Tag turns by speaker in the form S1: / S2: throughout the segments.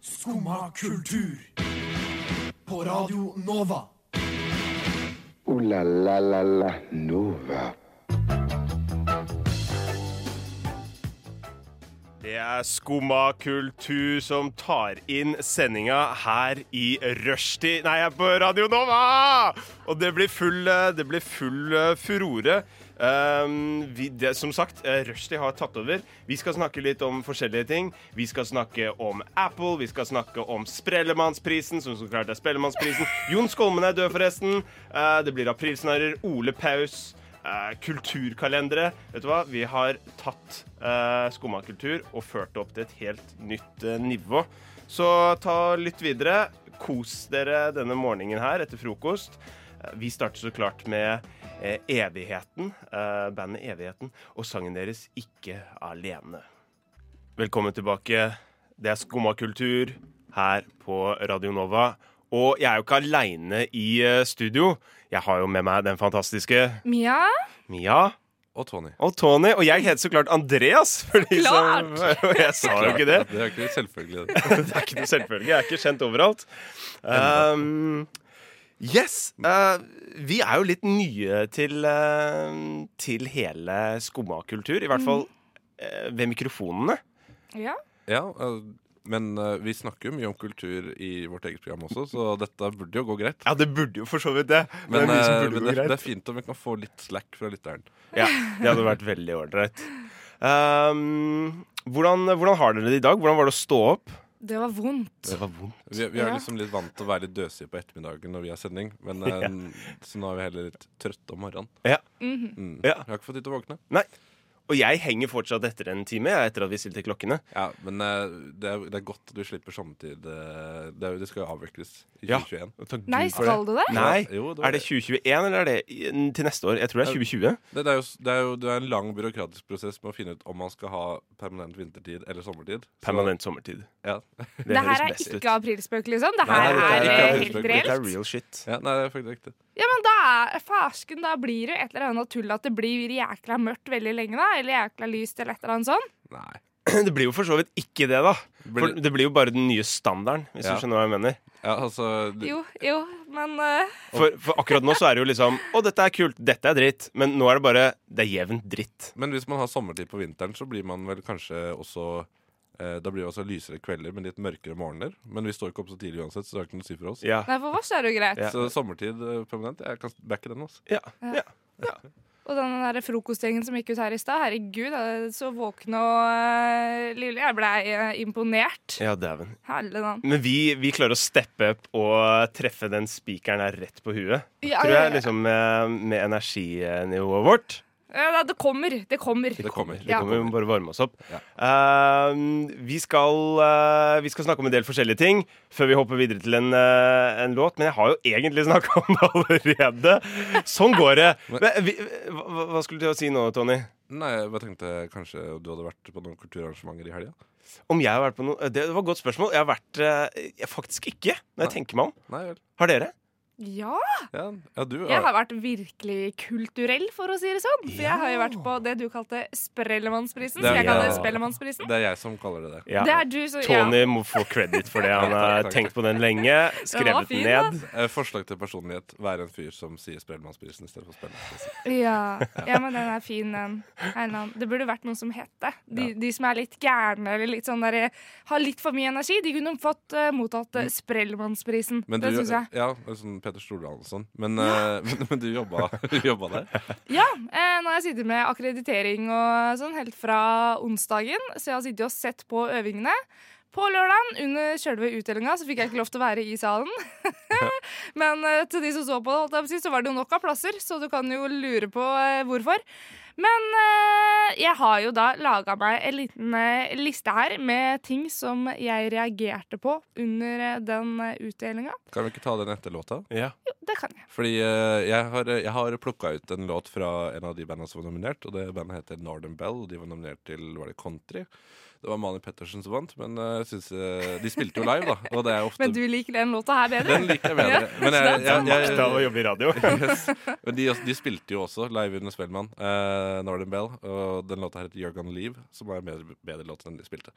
S1: Skumma kultur. På Radio Nova.
S2: Ooh la la la la Nova.
S3: Det er Skumma kultur som tar inn sendinga her i rushtid Nei, jeg er på Radio Nova! Og det blir full, eh, det blir full eh, furore. Ehm, vi, det, som sagt, eh, rushtid har tatt over. Vi skal snakke litt om forskjellige ting. Vi skal snakke om Apple, vi skal snakke om Sprellemannsprisen, som så klart er Spellemannsprisen. Jon Skolmen er død, forresten. Eh, det blir aprilsnarrer. Ole Paus eh, kulturkalendere. Vet du hva? Vi har tatt eh, Skumma kultur og ført det opp til et helt nytt eh, nivå. Så ta lytt videre. Kos dere denne morgenen her etter frokost. Eh, Vi starter så klart med eh, Evigheten, eh, bandet Evigheten, og sangen deres Ikke alene. Velkommen tilbake. Det er Skumma kultur her på Radio Nova. Og jeg er jo ikke aleine i eh, studio. Jeg har jo med meg den fantastiske
S4: Mia?
S3: Mia
S5: Og Tony.
S3: og Tony. Og jeg heter så klart Andreas. For de som- og jeg sa jo ikke det.
S5: Det er ikke selvfølgelig. det.
S3: Det er ikke noe selvfølgelig. Jeg er ikke kjent overalt. Um, yes. eh, vi er jo litt nye til, eh, til hele skumma kultur. I hvert fall eh, ved mikrofonene.
S4: Ja.
S5: Ja, eh, men eh, vi snakker jo mye om kultur i vårt eget program også, så dette burde jo gå greit.
S3: Ja, det burde jo for så vidt det.
S5: Men,
S3: det,
S5: eh, men det, det er fint om vi kan få litt slack fra lytteren.
S3: Ja, det hadde vært veldig ålreit. Um, hvordan, hvordan har dere det i dag? Hvordan var det å stå opp?
S4: Det var vondt.
S3: Det var vondt.
S5: Vi, vi er
S4: Ja.
S5: liksom litt vant til å være litt døsige på ettermiddagen når vi har sending, men eh, så nå er vi heller litt trøtte om morgenen.
S3: Ja.
S5: Mm.
S3: Ja.
S5: Jeg har ikke fått tid til å våkne.
S3: Nei. Og jeg henger fortsatt etter en time, jeg, etter at vi stilte klokkene.
S5: Ja, Men eh, det, er, det er godt at du slipper sommertid. eh, Det, er, jo- det skal jo avvikles i
S3: Ja.
S5: 2021.
S4: Nei, skal du det?
S3: Nei.
S5: Jo, det var
S3: Er det
S5: det.
S3: 2021, eller er det i- til neste år? Jeg tror det er 2020.
S5: Det, det, er jo, s- det, er jo, det er en lang byråkratisk prosess med å finne ut om man skal ha permanent vintertid eller sommertid. Så-
S3: Permanent sommertid.
S5: Ja.
S3: Det,
S4: Det her
S3: høres
S4: er
S3: best ut.
S4: ikke aprilspøk, liksom. Det
S5: Nei,
S4: her
S5: dette er
S4: er
S5: ikke
S4: eh,
S5: aprilspøk.
S4: helt
S3: Dette er
S4: reelt.
S3: real shit.
S5: ja, nei, det er faktisk riktig.
S4: Ja, men da er farsken, da blir det jo et eller annet tull at det blir jækla mørkt veldig lenge, da. Eller jækla lyst, eller et eller annet sånt.
S5: Nei.
S3: Det blir jo for så vidt ikke det, da. For
S5: Blir-
S3: det blir jo bare den nye standarden, hvis
S5: Ja.
S3: du skjønner hva jeg mener.
S5: Ja, altså, du-
S4: Jo, jo, men eh,
S3: For, for akkurat nå så er det jo liksom Å, dette er kult, dette er dritt. Men nå er det bare Det er jevnt dritt.
S5: Men hvis man har sommertid på vinteren, så blir man vel kanskje også eh, Da blir det også lysere kvelder, men litt mørkere morgener. Men vi står ikke opp så tidlig uansett, så det har ikke noe å si for oss.
S3: Ja.
S4: Nei, for oss er det jo greit.
S3: Ja.
S5: Så sommertid eh, permanent, jeg kan backe den. altså
S3: Ja. ja.
S4: Og den der frokostgjengen som gikk ut her i stad, herregud, eh, så våkne og eh, lille. Jeg blei eh, imponert.
S3: ja dæven.
S4: Herlig navn.
S3: Men vi, vi klarer å steppe opp og treffe den spikeren her rett på huet.
S4: Ja,
S3: tror
S4: ja,
S3: jeg,
S4: ja.
S3: liksom med, med energinivået vårt.
S4: Ja, da, det kommer. Det kommer.
S5: Det kommer.
S3: Det kommer, vi må bare varme oss opp.
S5: Ja.
S3: Eh, vi, skal, eh, vi skal snakke om en del forskjellige ting før vi hopper videre til en, eh, en låt. Men jeg har jo egentlig snakka om det allerede. Sånn går det. Men, vi, eh, hva, hva skulle du til å si nå, Tony?
S5: Nei, jeg bare tenkte kanskje du hadde vært på noen kulturarrangementer i helga?
S3: Om jeg har vært på noe eh, Det var et godt spørsmål. Jeg har vært eh, jeg, Faktisk ikke, når jeg tenker meg om.
S5: Nei vel.
S3: Har dere?
S4: Ja,
S5: Ja, ja du
S4: Jeg har vært virkelig kulturell, for å si det sånn. For jeg har jo vært på det du kalte Sprellemannsprisen.
S5: Det
S4: Så
S5: er-
S4: jeg kaller det
S5: ja.
S4: Spellemannsprisen.
S5: Det er jeg som kaller det det.
S3: Ja.
S4: Det er du som
S3: Tony
S4: ja.
S3: må få credit for det. Han har
S5: Takk, takk, takk.
S3: tenkt på den lenge,
S4: var
S3: skrevet den
S4: fin,
S3: ned.
S5: Eh, Forslag til personlighet. Være en fyr som sier Spellemannsprisen istedenfor Spellemannsprisen.
S4: Ja. ja, men den er fin, den. Einan. Det burde vært noen som het det. De, de som er litt gærne eller litt sånn der, har litt for mye energi, de kunne fått eh, mottatt uh, Sprellemannsprisen.
S5: Mm. Men
S4: Det
S5: du-
S4: syns jeg.
S5: Ja, sånn Peter Stordalen og sånn. Men, eh, men, men du jobba, du jobba der.
S4: Ja, eh, nå har jeg sittet med akkreditering og sånn helt fra onsdagen, så jeg har sittet og sett på øvingene. På lørdagen, under selve utdelinga, så fikk jeg ikke lov til å være i salen. Men eh, til de som så på det, holdt jeg på å si, så var det jo nok av plasser, så du kan jo lure på eh, hvorfor. Men eh, jeg har jo da laga meg en liten eh, liste her med ting som jeg reagerte på under eh, den eh, utdelinga.
S5: Kan vi ikke ta den etter låta?
S3: Ja.
S4: Det kan jeg.
S5: Fordi eh, jeg har, jeg har plukka ut en låt fra en av de bandene som var nominert. Og det bandet heter Northern Bell. og De var nominert til var det country. Det var Mani Pettersen som vant, men eh, jeg synes, eh, de spilte jo live, da. Og det er ofte
S4: Men du liker den låta her bedre?
S5: Den liker jeg bedre. Men jeg, jeg, jeg,
S3: Makta å jobbe i radio.
S5: Yes. Men de, de spilte jo også live under Spellemann, eh, Northern Bell. Og den låta her heter You're Gonna Leave, som er en bedre, bedre låt enn de spilte.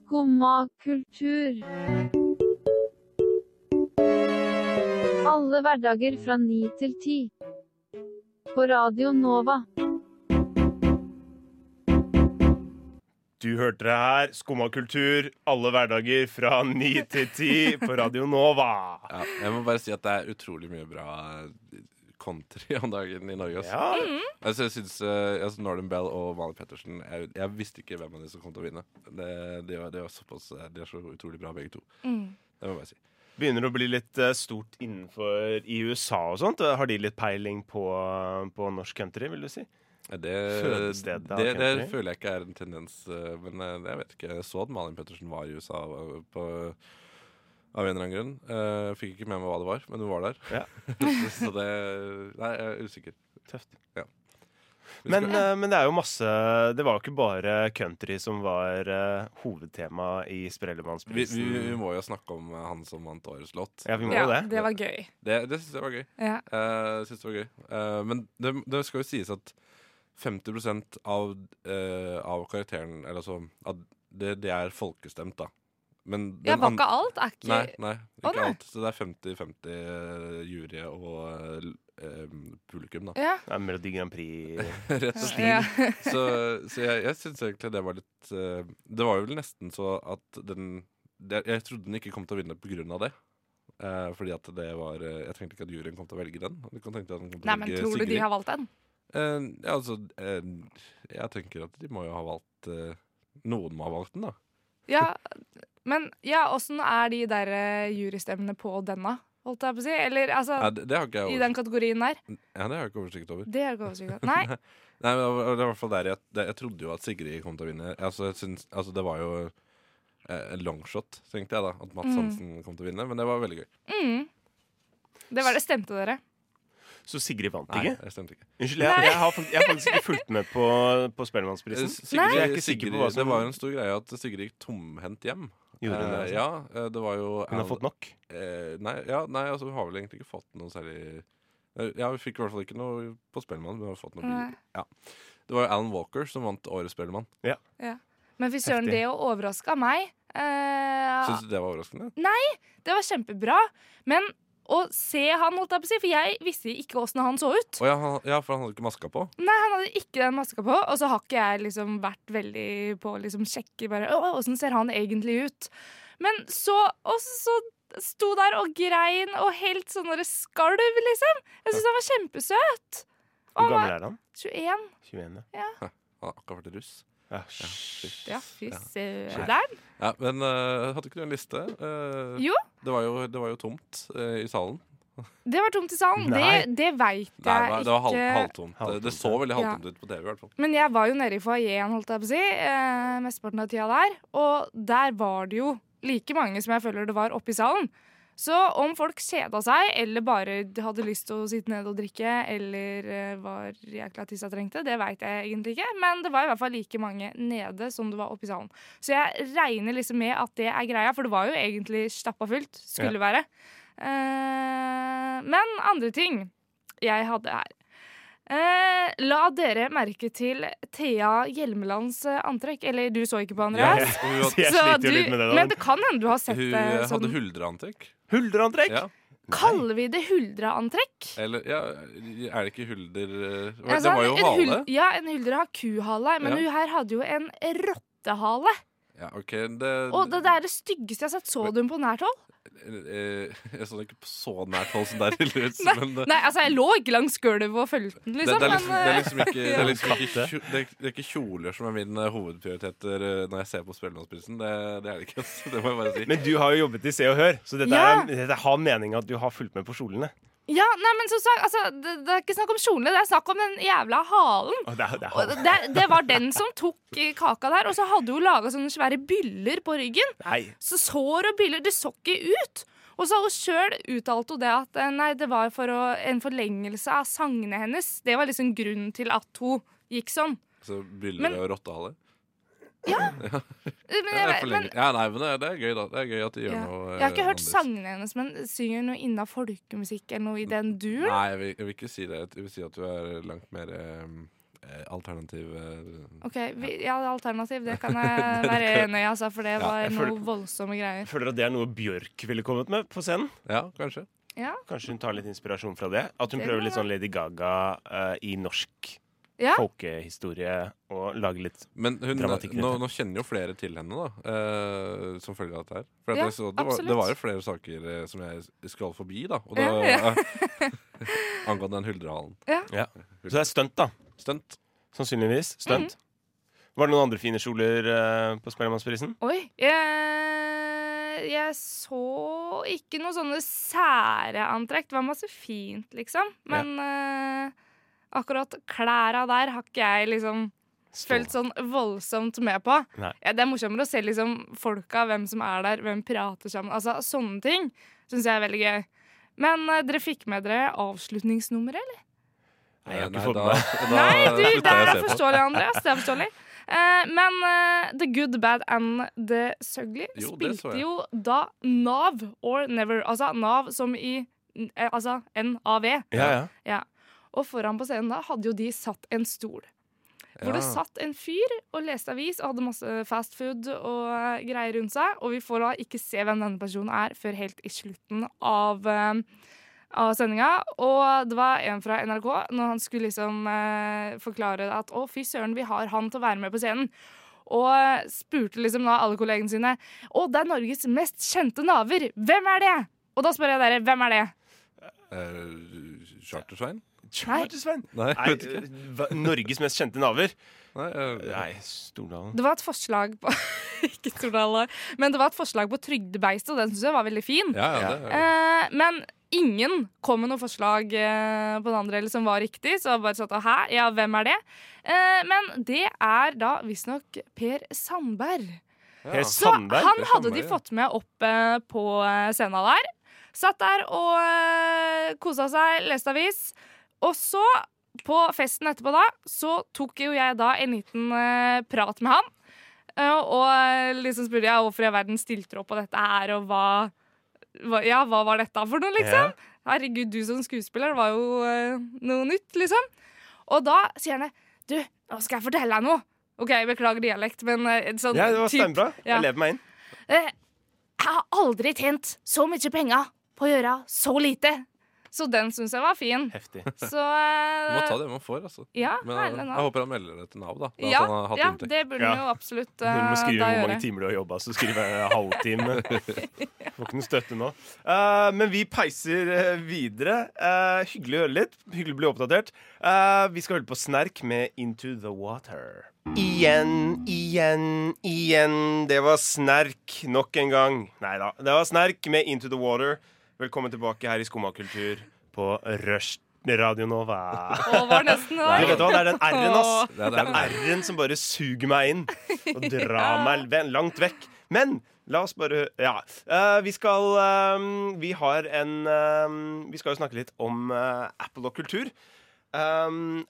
S6: Skumma kultur. Alle hverdager fra ni til ti. På Radio Nova.
S3: Du hørte det her. Skumma kultur alle hverdager fra 9 til 10 på Radio Nova.
S5: Ja, jeg må bare si at det er utrolig mye bra eh, country om dagen i Norge. ass.
S3: Ja,
S5: Altså, jeg synes, eh, altså Northern Bell og Mali Pettersen jeg, jeg visste ikke hvem av de som kom til å vinne. Det, de, var, de, var såpass, eh, de er så utrolig bra, begge to. Det må jeg bare si.
S3: Begynner å bli litt eh, stort innenfor i USA og sånt. Har de litt peiling på, på norsk country, vil du si?
S5: Eh, Det, det,
S3: Fødestedet av
S5: det,
S3: country.
S5: føler jeg ikke er en tendens, eh, men eh, jeg vet ikke. Jeg så at Malin Pettersen var i USA eh, på, av en eller annen grunn. Eh, fikk ikke med meg hva det var, men hun var der.
S3: Ja.
S5: så det Nei, jeg er usikker.
S3: Tøft.
S5: Ja. Vi
S3: Men,
S5: skal-
S3: eh, men det er jo masse Det var jo ikke bare country som var eh, hovedtema i
S5: vi, vi, vi
S3: Sprellemannsprisen.
S5: må jo snakke om eh, han som vant årets låt.
S3: Ja, vi må
S4: Ja,
S3: jo det.
S4: det var gøy.
S5: Det, det syns jeg var gøy.
S4: Ja.
S5: Eh, synes det var gøy. Eh, men det, det skal jo sies at 50 av, eh, av karakteren Eller altså at det, det er folkestemt, da. Men
S4: Ja,
S5: den
S4: var
S5: an-
S4: ikke alt? Er ikke
S5: Nei, nei, ikke
S4: Å, nei.
S5: alt. Så det er 50-50 eh, jury og eh, l- eh, publikum, da.
S4: Ja.
S3: Det er Melodi Grand Prix.
S5: Rett og slett.
S4: ja.
S5: Så, så jeg, jeg syns egentlig det var litt eh, Det var jo vel nesten så at den det, Jeg trodde den ikke kom til å vinne på grunn av det. Eh, fordi at det var eh, Jeg tenkte ikke at juryen kom til å velge den. Jeg tenkte at den kom til
S4: Nei,
S5: å
S4: men
S5: velge
S4: tror du de
S5: Sigrid.
S4: har valgt den?
S5: Eh, ja, altså eh, Jeg tenker at de må jo ha valgt eh, Noen må ha valgt den, da.
S4: Ja, men ja, åssen er de der eh, jurystemmene på denne, holdt jeg på å si? Eller altså,
S5: Nei, det, det har ikke
S4: i
S5: jeg
S4: den
S5: over,
S4: kategorien der?
S5: ja, det har jeg ikke oversikt over.
S4: Det er ikke oversikt over. Nei.
S5: Nei, men det var- det var i hvert fall der jeg, det, jeg trodde jo at Sigrid kom til å vinne. Altså, jeg syns, altså det var jo eh, en longshot, tenkte jeg da. At Mads Hansen kom til å vinne. Men det var veldig gøy.
S4: Mm. Det var det stemte dere.
S3: Så Sigrid vant
S5: Nei,
S3: ikke?
S5: jeg stemte ikke.
S3: Unnskyld, jeg, jeg, har, fakt- jeg har faktisk ikke fulgt med på, på Spellemannsprisen.
S5: Eh,
S3: Så jeg er ikke sikker
S5: Sigrid,
S3: på hva som
S5: det var jo en stor greie at Sigrid gikk tomhendt hjem.
S3: gjorde hun det.
S5: Eh,
S3: Altså.
S5: ja, eh, det var jo
S3: Hun har fått nok.
S5: Eh, nei, ja, nei, altså hun har vel egentlig ikke fått noe særlig Eh, Ja, hun fikk i hvert fall ikke noe på Spellemann. Men hun har fått noe
S4: Nei.
S5: bil. ja. Det var jo Alan Walker som vant Årets Spellemann.
S4: Men fy søren,
S3: Heftig.
S4: det overraska meg. Eh,
S5: Syns du det var overraskende?
S4: det var kjempebra. Men å se han, holdt jeg på å si, for jeg visste ikke åssen han så ut.
S5: Å ja, han, ja, for han hadde ikke maska på?
S4: Nei, han hadde ikke den maska på, og så har ikke jeg liksom vært veldig på å liksom sjekke bare, «Å, åssen ser han egentlig ut. Men så, og så sto der og grein og helt sånn der skalv, liksom. Jeg syns han var kjempesøt. Og
S3: Hvor
S4: han var
S3: gammel er han?
S4: 21.
S3: 21, ja.
S5: Han hadde akkurat vært russ.
S3: Ja,
S4: Ja, fy
S5: Ja.
S4: søren.
S5: Ja, men eh, hadde ikke du en liste? Eh,
S4: Jo.
S5: Det var jo, det var jo tomt eh, i salen.
S4: Det var tomt i salen.
S3: Nei.
S4: Det, det veit jeg
S5: Nei, det var, det var halv,
S4: ikke.
S5: halvtomt. Det- Det
S3: Halvtomt,
S5: så
S3: ja.
S5: veldig
S4: Ja.
S5: halvtomt ut på TV, i hvert fall.
S4: Men jeg var jo nede i foajeen, holdt jeg på å si, eh, mesteparten av tida der. Og der var det jo like mange som jeg føler det var oppe i salen. Så om folk kjeda seg, eller bare hadde lyst til å sitte nede og drikke, eller eh, var jækla tissa trengte, det veit jeg egentlig ikke. Men det var i hvert fall like mange nede som det var oppe i salen. Så jeg regner liksom med at det er greia, for det var jo egentlig stappa fullt. Skulle være. Eh, men andre ting jeg hadde her. Eh, la dere merke til Thea Hjelmelands eh, antrekk. Eller du så ikke på, Andreas.
S5: Ja, og hun hadde-
S3: Jeg sliter jo
S4: du-
S3: litt med det.
S4: men
S3: da.
S4: det kan hende du har sett
S5: hun
S4: det
S5: eh,
S4: sånn.
S5: hadde huldreantrekk.
S3: Huldreantrekk!
S5: Ja.
S4: Kaller vi det huldreantrekk?
S5: Eller ja, er det ikke hulder eh,
S4: Altså,
S5: Det var jo
S4: en hul-
S5: hale.
S4: Ja, en huldre har kuhale, men
S5: Ja.
S4: hun her hadde jo en rottehale.
S5: Ja, ok, det,
S4: Og det, det er det styggeste jeg har sett. Så du den på nært hold?
S5: Eh, Jeg så den ikke på så nært hold som der ille ut, men det,
S4: Nei, altså, jeg lå ikke langs gulvet og fulgte den,
S5: det,
S4: liksom. eh,
S5: det, er liksom, det er liksom ikke, det
S4: ja.
S5: er liksom ikke, kjo- det er, det er ikke kjoler som er min eh, hovedprioritet eh, når jeg ser på Spellemannsprisen. Det, det er det ikke. ass. Det må jeg bare si.
S3: Men du har jo jobbet i Se og Hør, så dette,
S4: Ja.
S3: er, dette har mening at du har fulgt med på kjolene.
S4: men, ja, nei, men som sagt, altså, det, det er ikke snakk om kjolene, det er snakk om den jævla halen.
S3: Og det er, det
S4: Og
S3: er,
S4: det, det var den som tok eh, kaka der, og så hadde hun laga sånne svære byller på ryggen.
S3: nei,
S4: Så sår og byller, det så ikke ut. Og så har hun sjøl uttalt hun det at eh, nei, det var for å, en forlengelse av sangene hennes. Det var liksom grunnen til at hun gikk sånn.
S5: Så
S4: Men-
S5: Byller og rottehale.
S4: Eh, Men
S5: Ja, det er
S4: jeg,
S5: for
S4: men,
S5: lenge. ja, nei, men det, det er gøy, da. Det er gøy at de gjør
S4: ja.
S5: noe
S4: jeg har ikke
S5: eh,
S4: hørt
S5: annerledes.
S4: sangene hennes, men synger hun noe inna folkemusikk eller noe i den duren?
S5: Nei, jeg vil, jeg vil ikke si det. Jeg vil si at du er langt mer eh, eh, alternativ eh,
S4: Ok, vi, ja, alternativ, det kan jeg være enig i, altså, for det
S5: Ja,
S4: var
S3: jeg føler-
S4: noe voldsomme greier.
S3: Føler du at det er noe Bjørk ville kommet med på scenen?
S5: Ja, kanskje.
S4: Ja,
S3: Kanskje hun tar litt inspirasjon fra det? At hun
S4: Det
S3: prøver
S4: kan
S3: litt sånn Lady Gaga eh, i norsk
S4: Ja.
S3: folkehistorie og lager litt
S5: Men hun,
S3: Dramatikk,
S5: nå,
S3: dette.
S5: nå kjenner jo flere til henne, da, eh, som følge av dette her. For at
S4: Ja,
S5: jeg så, det, var,
S4: absolutt.
S5: det var jo flere saker eh, som jeg skroll forbi, da. Og da
S4: Ja, ja.
S5: angående den huldrehalen.
S3: Så det er stunt, da.
S5: Stunt.
S3: Sannsynligvis. Stunt.
S4: Mhm.
S3: Var det noen andre fine kjoler eh, på Spellemannsprisen?
S4: oi. Jeg, jeg så ikke noe sånne sære antrekk. Det var masse fint, liksom. Men eh, akkurat klæra der har ikke jeg liksom følt sånn voldsomt med på.
S3: Nei.
S4: Ja, det er morsommere å se liksom folka, hvem som er der, hvem prater sammen. Altså, Sånne ting syns jeg er veldig gøy. Men eh, dere fikk med dere avslutningsnummeret, eller?
S3: Nei, jeg har
S5: Eh,
S3: ikke fått
S5: da-
S3: med
S5: da
S4: Nei, du,
S5: slutta
S4: det
S5: jeg å
S4: er
S5: se på.
S4: forståelig, Andreas. Det er forståelig. Eh, men eh, The Good, Bad and The Sugly
S5: Jo, det så
S4: spilte
S5: jeg.
S4: jo da Nav or Never. Altså Nav som i eh, Altså NAV.
S3: Ja, ja.
S4: Ja. Og foran på scenen da hadde jo de satt en stol. Hvor det
S5: Ja.
S4: satt en fyr og leste avis og hadde masse fast food og eh, greier rundt seg. Og vi får da ikke se hvem denne personen er før helt i slutten av, eh, av sendinga. Og det var en fra NRK når han skulle liksom eh, forklare at å, fy søren, vi har han til å være med på scenen. Og eh, spurte liksom da alle kollegene sine Å, det er Norges mest kjente naver. Hvem er det? Og da spør jeg dere, hvem er det?
S5: Eh, Chartersvein?
S3: Charter-Svein. Nei,
S5: Nei,
S3: eh,
S5: vet ikke.
S3: hva- Norges mest kjente naver?
S5: Nei, eh,
S3: Nei, Stordalen.
S4: Det var et forslag på Ikke Stordal, men det var et forslag på Trygdebeistet, og den syns jeg var veldig fin.
S5: ja, ja, det er
S4: Eh, men ingen kom med noe forslag eh, på den andre eller som var riktig, så jeg bare satt og hæ, ja, hvem er det? Eh, men det er da visstnok Per Sandberg.
S3: Per
S4: Så
S3: Sandberg?
S4: han
S5: Per
S4: hadde de
S5: Sandberg, ja.
S4: fått med opp eh, på eh, scenen der. Satt der og eh, kosa seg, leste avis. Og så, på festen etterpå da, så tok jo jeg da en liten eh, prat med han. Eh, og eh, liksom spurte jeg hvorfor i all verden stilte du opp på dette her, og hva, hva Ja, hva var dette for noe, liksom? Herregud, du som skuespiller, det var jo eh, noe nytt, liksom. Og da sier han Du, nå skal jeg fortelle deg noe. OK, beklager dialekt, men eh, sånn
S3: Ja, det var
S4: typ-
S3: steinbra.
S4: Ja.
S3: Jeg lever meg inn.
S4: Eh, Jeg har aldri tjent så mye penger på å gjøre så lite. Så den syns jeg var fin.
S3: Heftig.
S4: Så
S5: Man må ta
S4: eh,
S5: det man får, altså.
S4: ja,
S5: Men
S4: herlig
S5: jeg,
S4: nå.
S5: jeg håper han melder det til Nav, da. da
S4: Ja,
S5: at han har hatt
S4: ja,
S5: inntekt.
S4: det burde
S3: Ja.
S4: han jo absolutt eh,
S3: Hun må skrive
S4: da
S3: hvor
S4: gjøre.
S3: mange timer du har jobba, så skriver jeg halvtime. Får ikke noe støtte nå. Eh, men vi peiser eh, videre. Eh, hyggelig å høre litt. Hyggelig å bli oppdatert. Eh, vi skal høre på Snerk med Into The Water. Igjen, igjen, igjen. Det var Snerk nok en gang. Nei da. Det var Snerk med Into The Water. Velkommen tilbake her i Skummakultur på Rush Radio Nova.
S4: Og var nesten
S3: Du
S4: der.
S3: vet hva, Det er den R-en, ass.
S5: Ja,
S3: Det
S5: det er
S3: er
S5: den.
S3: R-en som bare suger meg inn og drar meg ve- langt vekk. Men la oss bare Ja. Eh, vi skal eh, Vi har en eh, Vi skal jo snakke litt om eh, Apple og kultur. Eh,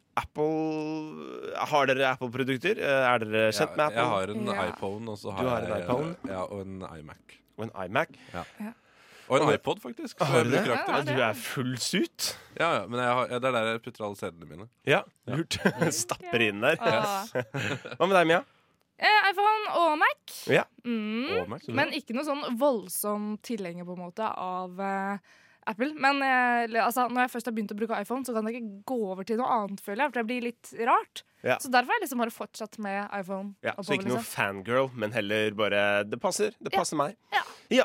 S3: Apple Har dere Apple-produkter? Eh, er dere kjent med
S5: Ja,
S3: Apple?
S5: jeg har en
S4: Ja.
S5: iPhone, og så har,
S3: Du har en
S5: jeg,
S3: iPhone?
S5: Ja, og en iMac.
S3: Og en iMac.
S5: Og en
S3: Har-
S5: iPod, faktisk. så
S3: Har
S5: jeg
S3: du det?
S5: bruker aktivt.
S4: Ja,
S3: Du er full suit.
S5: Ja, ja, men jeg har, ja, det er der jeg putter alle sedlene mine.
S3: Ja, lurt. Stapper inn der.
S4: Åh.
S3: Hva med deg, Mia?
S4: Eh, iPhone og Mac.
S3: Ja.
S4: Mm.
S5: Og Mac.
S4: Men ikke noe sånn voldsom tilhenger på en måte av eh, Apple. Men eh, eller, altså, når jeg først har begynt å bruke iPhone, så kan jeg ikke gå over til noe annet, føler jeg. For det blir litt rart.
S3: Ja.
S4: Så derfor har jeg liksom bare fortsatt med iPhone.
S3: Ja,
S4: oppover,
S3: så ikke noe
S4: liksom.
S3: fangirl, men heller bare Det passer. Det
S4: Ja.
S3: passer meg.
S4: Ja.
S3: Ja.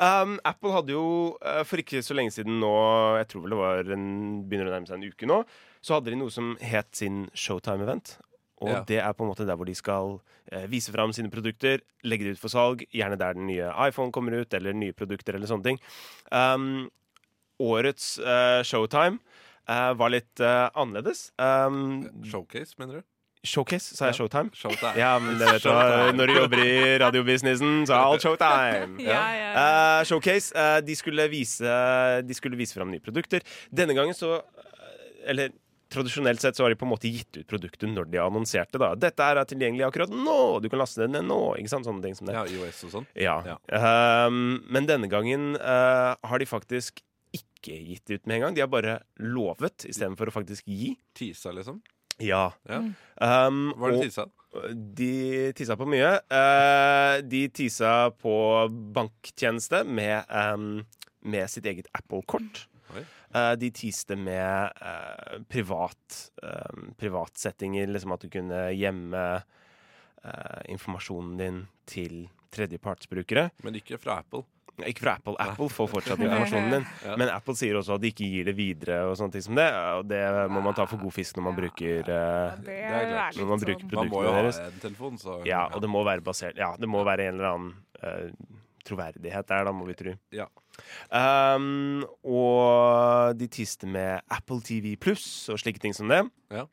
S3: Um, Apple hadde jo eh, for ikke så lenge siden nå Jeg tror vel det var en, begynner å nærme seg en uke nå. Så hadde de noe som het sin Showtime-event. Og
S5: Ja.
S3: det er på en måte der hvor de skal eh, vise fram sine produkter, legge det ut for salg. Gjerne der den nye iPhone kommer ut, eller nye produkter, eller sånne ting. Um, årets eh, Showtime eh, var litt eh, annerledes. Um,
S5: Showcase, mener du?
S3: showcase, sa jeg
S5: Ja.
S3: Showtime?
S5: Showtime.
S3: Ja, men det vet du hva. Når du jobber i radiobusinessen, så er alt showtime.
S4: Ja,
S5: Ja.
S4: ja, ja.
S3: Eh, showcase. eh, de, skulle vise, de skulle vise fram nye produkter. Denne gangen så eh, Eller tradisjonelt sett så har de på en måte gitt ut produktet når de annonserte. da. Dette er tilgjengelig akkurat nå! Du kan laste det ned nå! ikke sant? Sånne ting som det.
S5: Ja, IOS og sånn.
S3: Ja.
S5: Ja.
S3: Ehm, men denne gangen eh, har de faktisk ikke gitt ut med en gang. De har bare lovet istedenfor å faktisk gi.
S5: Tisa, liksom.
S3: Ja.
S5: Ja.
S3: Um,
S5: Hva er
S3: og-
S5: det tisa?
S3: De tisa på mye. Eh, de tisa på banktjeneste med, em, med sitt eget Apple-kort.
S5: Oi.
S3: Eh, de tiste med eh, privat, em, privatsettinger, liksom at du kunne gjemme eh, informasjonen din til tredjepartsbrukere.
S5: Men ikke fra Apple.
S3: Ikke fra Apple. Apple får fortsatt
S4: Ja.
S3: informasjonen din.
S5: Ja.
S3: Men Apple sier også at de ikke gir det videre, og sånne ting som det. Og det må man ta for god fisk når man bruker eh,
S4: Det
S5: er klart.
S4: er
S3: Når man
S4: litt
S3: bruker
S4: sånn
S5: Man må jo
S3: produktene
S5: ha
S3: deres.
S5: en telefon, så
S3: Ja, og det må være basert Ja, det må være en eller annen eh, troverdighet der, da, må vi tro.
S5: Ja.
S3: Ehm, og de tiste med Apple TV pluss og slike ting som det.
S5: Ja.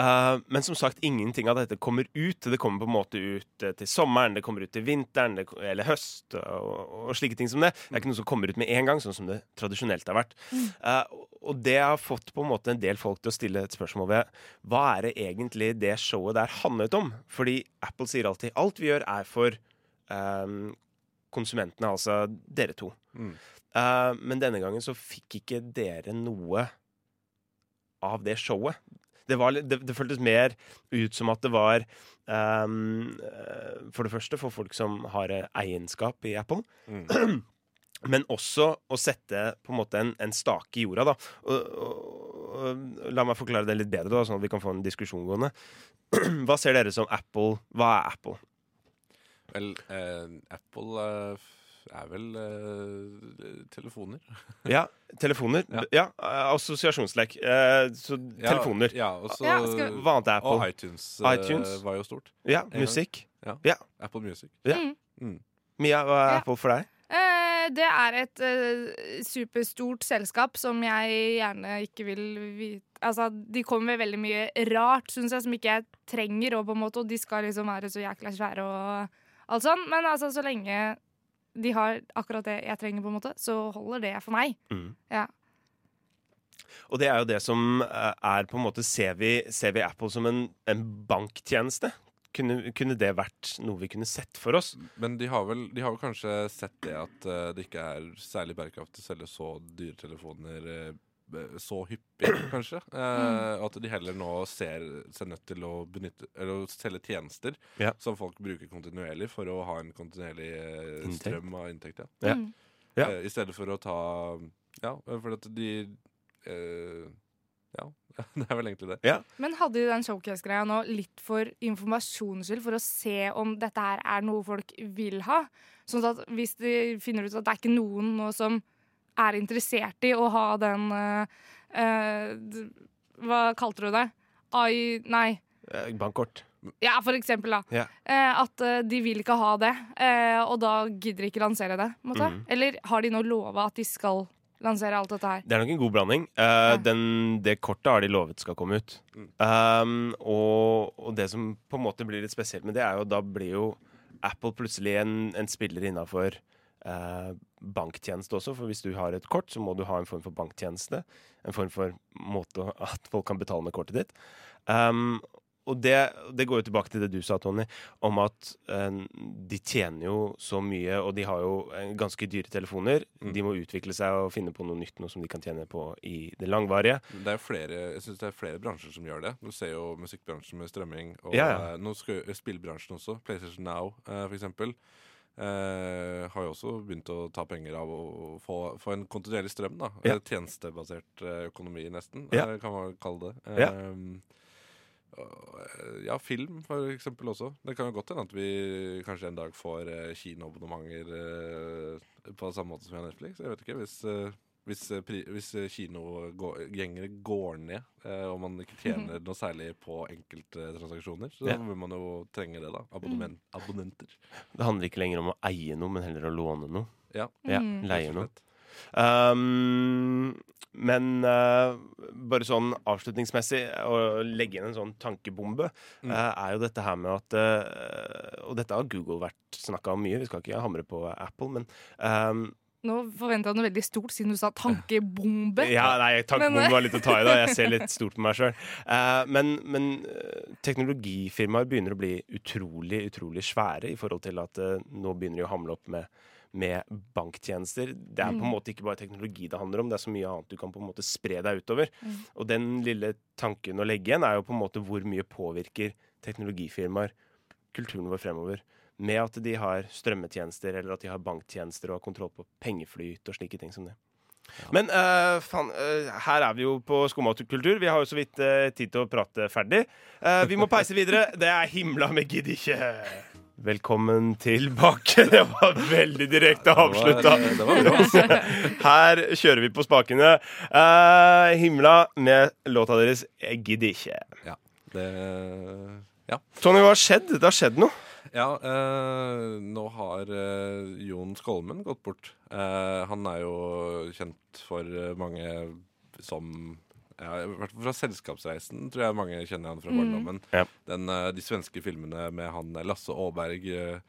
S3: Eh, men som sagt, ingenting av dette kommer ut. Det kommer på en måte ut eh, til sommeren, det kommer ut til vinteren det, ko- eller høst og, og slike ting som det. Det er ikke noe som kommer ut med en gang, sånn som det tradisjonelt har vært.
S5: Mm.
S3: Eh, og det har fått på en måte en del folk til å stille et spørsmål ved hva er det egentlig det showet der handlet om? Fordi Apple sier alltid alt vi gjør er for ehm, konsumentene, altså dere to.
S5: Mm.
S3: Eh, men denne gangen så fikk ikke dere noe av det showet. Det, var, litt- det, det føltes mer ut som at det var ehm, eh, For det første for folk som har eh, eienskap i Apple.
S5: Mm.
S3: Men også å sette på en måte en, en stake i jorda, da. Og, og, og, la meg forklare det litt bedre, da, sånn at vi kan få en diskusjon gående. Hva ser dere som Apple? Hva er Apple?
S5: Vel, eh, Apple eh, f- er vel eh, telefoner.
S3: Ja, telefoner.
S5: Ja.
S3: Ja, eh, assosiasjonslek. Eh, så
S5: Ja,
S3: telefoner.
S5: Ja, og så
S4: Ja, skal vi-
S3: Hva annet er
S5: Og
S3: Apple?
S5: iTunes, eh,
S3: iTunes.
S5: var jo stort.
S3: Ja, musikk.
S5: Apple Music.
S3: Mia, hva er
S4: Ja.
S3: Apple for deg?
S4: Eh, Det er et eh, superstort selskap som jeg gjerne ikke vil vite Altså, De kommer med veldig mye rart, syns jeg, som ikke jeg trenger. Og på en måte, og de skal liksom være så jækla svære og alt sånn. Men altså, så lenge de har akkurat det jeg trenger, på en måte, så holder det for meg. Ja.
S3: Og det er jo det som eh, er på en måte Ser vi, ser vi Apple som en, en banktjeneste? Kunne, kunne det vært noe vi kunne sett for oss?
S5: Men de har, vel, de har vel kanskje sett det at eh, det ikke er særlig bærekraftig å selge så dyre telefoner eh, b- så hyppig, kanskje.
S3: Mm.
S5: Eh, At de heller nå ser seg nødt til å, benytte, eller å selge tjenester
S3: Ja.
S5: som folk bruker kontinuerlig for å ha en kontinuerlig eh,
S3: Inntekt.
S5: strøm av inntekt. Ja.
S3: Ja.
S4: Mm.
S3: Ja.
S5: Eh, I stedet for å ta Ja, for at de eh, Ja, det er vel egentlig det.
S4: Men hadde de den showcase-greia nå litt for informasjonens skyld, for å se om dette her er noe folk vil ha? Sånn at hvis de finner ut at det er ikke noen nå som er interessert i å ha den eh, eh, d- Hva kalte du det? AI Nei.
S3: Eh, Bankkort.
S4: Ja, for eksempel, da.
S3: Ja.
S4: Eh, at eh, de vil ikke ha det, eh, og da gidder de ikke lansere det. på en Måte.
S3: Mhm.
S4: Eller har de nå lova at de skal lansere alt dette her?
S3: Det er nok en god blanding. Eh, den, det kortet har de lovet skal komme ut. Um, og, og det som på en måte blir litt spesielt med det, er jo da blir jo Apple plutselig en, en spiller innafor banktjeneste også. For hvis du har et kort, så må du ha en form for banktjeneste. En form for måte å- at folk kan betale med kortet ditt. Um, og det, det går jo tilbake til det du sa, Tony, om at eh, de tjener jo så mye, og de har jo eh, ganske dyre telefoner.
S5: Mm.
S3: De må utvikle seg og finne på noe nytt, noe som de kan tjene på i det langvarige.
S5: Det er jo flere, jeg synes det er flere bransjer som gjør det. Du ser jo musikkbransjen med strømming. Og
S3: Ja, ja.
S5: eh, nå skal, spillbransjen også. PlayStation Now, eh, for eksempel. Eh, har jo også begynt å ta penger av å få, få en kontinuerlig strøm. da
S3: Ja.
S5: Eh, Tjenestebasert eh, økonomi, nesten,
S3: Ja.
S5: eh, kan man kalle det. Ehm,
S3: Ja.
S5: Eh, og, eh, ja, film for eksempel også. Det kan jo godt hende at vi kanskje en dag får eh, kinoabonnementer eh, på samme måte som vi har Netflix. Jeg vet ikke. Hvis, eh, hvis, eh, pri, hvis eh, kinogjengere går ned, eh, og man ikke tjener noe særlig på enkelttransaksjoner, så
S3: Ja.
S5: vil man jo trenge det, da. Abonnement, Abonnenter.
S3: Det handler ikke lenger om å eie noe, men heller å låne noe.
S5: Ja.
S3: Ja,
S4: Mm.
S3: leie noe.
S5: Rett og slett.
S3: Um, men eh, bare sånn avslutningsmessig å legge inn en sånn tankebombe,
S5: Mm.
S3: eh, er jo dette her med at eh, Og dette har Google vært snakka om mye, vi skal ikke hamre på Apple, men ehm,
S4: Nå forventa jeg noe veldig stort, siden du sa tankebombe.
S3: Ja, nei, tankebombe
S4: Men-
S3: var litt å ta i, da. Jeg ser litt stort på meg sjøl. men men eh, teknologifirmaer begynner å bli utrolig, utrolig svære i forhold til at eh, nå begynner de å hamle opp med med banktjenester. Det er på en måte ikke bare teknologi det handler om, det er så mye annet du kan på en måte spre deg utover. Og den lille tanken å legge igjen er jo på en måte hvor mye påvirker teknologifirmaer kulturen vår fremover. Med at de har strømmetjenester, eller at de har banktjenester og har kontroll på pengeflyt og slike ting som det. Men eh, faen, eh, her er vi jo på skomakultur. Vi har jo så vidt eh, tid til å prate ferdig. Eh, vi må peise videre. Det er himla med gidd ikke. Velkommen tilbake. Det var veldig direkte avslutta.
S5: Det var bra. ass.
S3: Her kjører vi på spakene. Eh, himla med låta deres 'Jeg gidder ikke'.
S5: Ja, det, ja.
S3: Tony, hva har skjedd? Det har skjedd noe.
S5: ja eh, nå har eh, Jon Skolmen gått bort. Eh, han er jo kjent for eh, mange som ja, I hvert fall fra Selskapsreisen tror jeg mange kjenner han fra barndommen.
S3: Ja.
S5: Den, eh, de svenske filmene med han eh, Lasse Aaberg eh,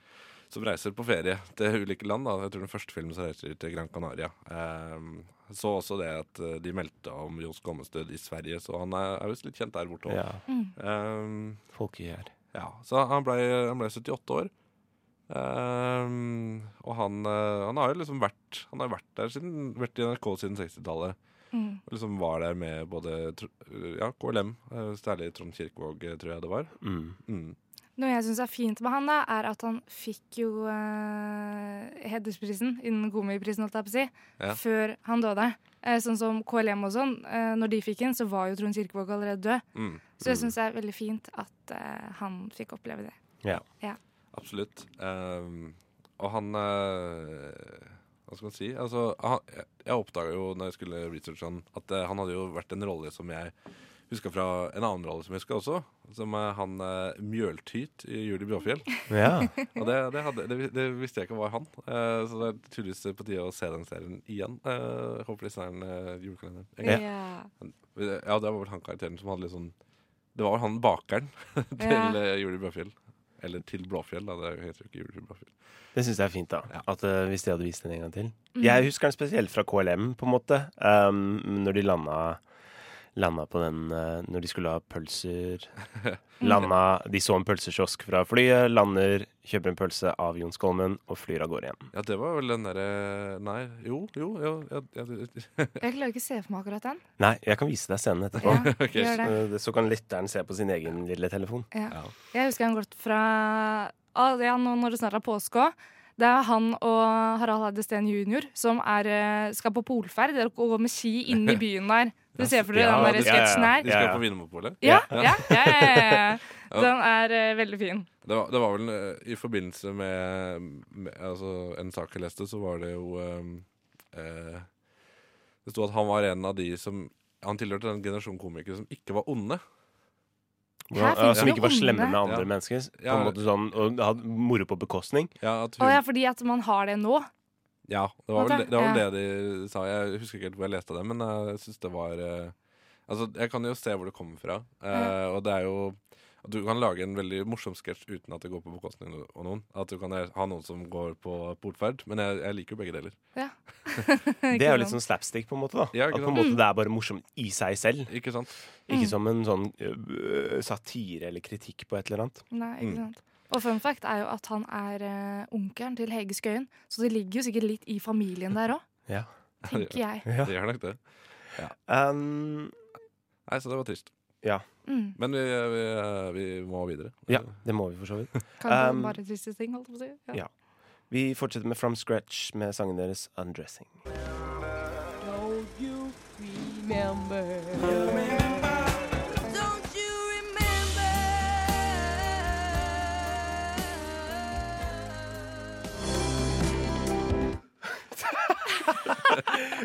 S5: som reiser på ferie til ulike land. Da. Jeg tror den første filmen som reiser til Gran Canaria. Eh, så også det at eh, de meldte om Jon Skolmens død i Sverige, så han er, er visst litt kjent der borte òg. Eh,
S3: Folkegjær.
S5: ja, så han ble, han ble 78 år. Ehm, og han, eh, han har jo liksom vært Han har vært der siden Vært i NRK siden 60-tallet.
S4: Mm.
S5: Og liksom var der med både Tr- Ja, KLM, eh, særlig Trond Kirkevåg, eh, tror jeg det var.
S3: Mm.
S5: Mm.
S4: Noe jeg syns er fint med han, da, er at han fikk jo eh, hedersprisen innen Komiprisen, holdt jeg på å si,
S5: Ja.
S4: før han døde. Eh, sånn som KLM og sånn. Eh, når de fikk den, så var jo Trond Kirkevåg allerede død.
S5: Mm.
S4: Så jeg syns det er veldig fint at eh, han fikk oppleve det.
S5: Absolutt. Ehm, og han eh, Hva skal man si? Altså, han, jeg- jeg oppdaga jo når jeg skulle researche han, at eh, han hadde jo vært en rolle som jeg huska fra en annen rolle som jeg huska også. Som eh, han eh, Mjøltyt i Julie Bråfjell.
S3: Ja.
S5: Og det, det, hadde, det, vi- det visste jeg ikke var han. Eh, så det er tydeligvis på tide å se den serien igjen. Eh, håper de sender den eh, julekalenderen. en gang. Ja, det var vel han karakteren som hadde litt sånn Det var vel han bakeren til
S4: Ja.
S5: eh, Julie Bråfjell. Eller til Blåfjell, da. Det heter jo ikke Julie Blåfjell.
S3: Det syns jeg er fint, da. At eh, Hvis de hadde vist den en gang til.
S4: Mm.
S3: Jeg husker den spesielt fra KLM, på en måte. Um, når de landa, landa på den eh, Når de skulle ha pølser. Landa De så en pølsekiosk fra flyet, lander, kjøper en pølse av Jonskolmen og flyr av gårde igjen.
S5: Ja, det var vel den derre Nei, jo, jo, jo ja, ja, det-
S4: Jeg klarer ikke å se for meg akkurat den.
S3: Nei, jeg kan vise deg scenen etterpå.
S4: Ja,
S5: Ok,
S4: gjør det.
S3: Eh, Så kan lytteren se på sin egen lille telefon.
S4: Ja.
S5: Ja.
S4: Jeg husker han godt fra ah, ja, nå når det snart er påske òg. Det er han og Harald Eide Steen jr. som er, eh, skal på polferd og går med ski inn i byen der. Du ser for dere
S5: Ja,
S4: den
S5: det-
S4: der
S5: ja,
S4: sketsjen
S3: ja,
S4: her?
S5: De skal på Vinmonopolet.
S4: Ja, ja, ja, ja, ja, ja. Den er eh, veldig fin.
S5: Det var, det var vel eh, i forbindelse med, med altså, en sak jeg leste, så var det jo eh, eh, Det sto at han var en av de som Han tilhørte den generasjonen komikere som ikke var onde.
S4: Her
S3: Ja,
S4: finnes
S3: som
S4: det
S3: ikke var
S4: onde.
S3: slemme med andre
S5: Ja.
S3: mennesker. På
S5: Ja.
S3: en måte sånn, Og hadde moro på bekostning.
S5: Ja, at
S4: Å
S5: hun,
S4: ja, fordi at man har det nå.
S5: ja det var vel, det, det, var vel
S4: Ja.
S5: det de sa. Jeg husker ikke helt hvor jeg leste det, men eh, jeg syns det var eh, Altså, jeg kan jo se hvor det kommer fra, eh,
S4: Ja.
S5: og det er jo at du kan lage en veldig morsom sketsj uten at det går på bekostning av noen. At du kan ha noen som går på portferd. Men jeg, jeg liker jo begge deler.
S4: Ikke
S3: Det er jo
S4: sant?
S3: litt sånn slapstick, på en måte. da
S5: Ja,
S3: At
S5: ikke
S3: på en måte Det er bare morsomt i seg selv.
S5: Ikke sant?
S4: Mm.
S3: Ikke som en sånn øh, satire eller kritikk på et eller annet.
S4: Nei,
S5: Mm.
S4: ikke sant. Og fun fact er jo at han er eh, onkelen til Hege Skøyen, så det ligger jo sikkert litt i familien der òg,
S3: Ja.
S4: tenker jeg.
S5: Det gjør nok det.
S3: Um,
S5: Nei, så det var trist.
S4: Mm.
S5: Men vi, vi, vi må videre.
S3: ja, det må vi for så vidt.
S4: Kan det
S3: Um,
S4: bare triste ting, holdt jeg på å si. Ja.
S3: ja. Vi fortsetter med From Scratch med sangen deres 'Undressing'.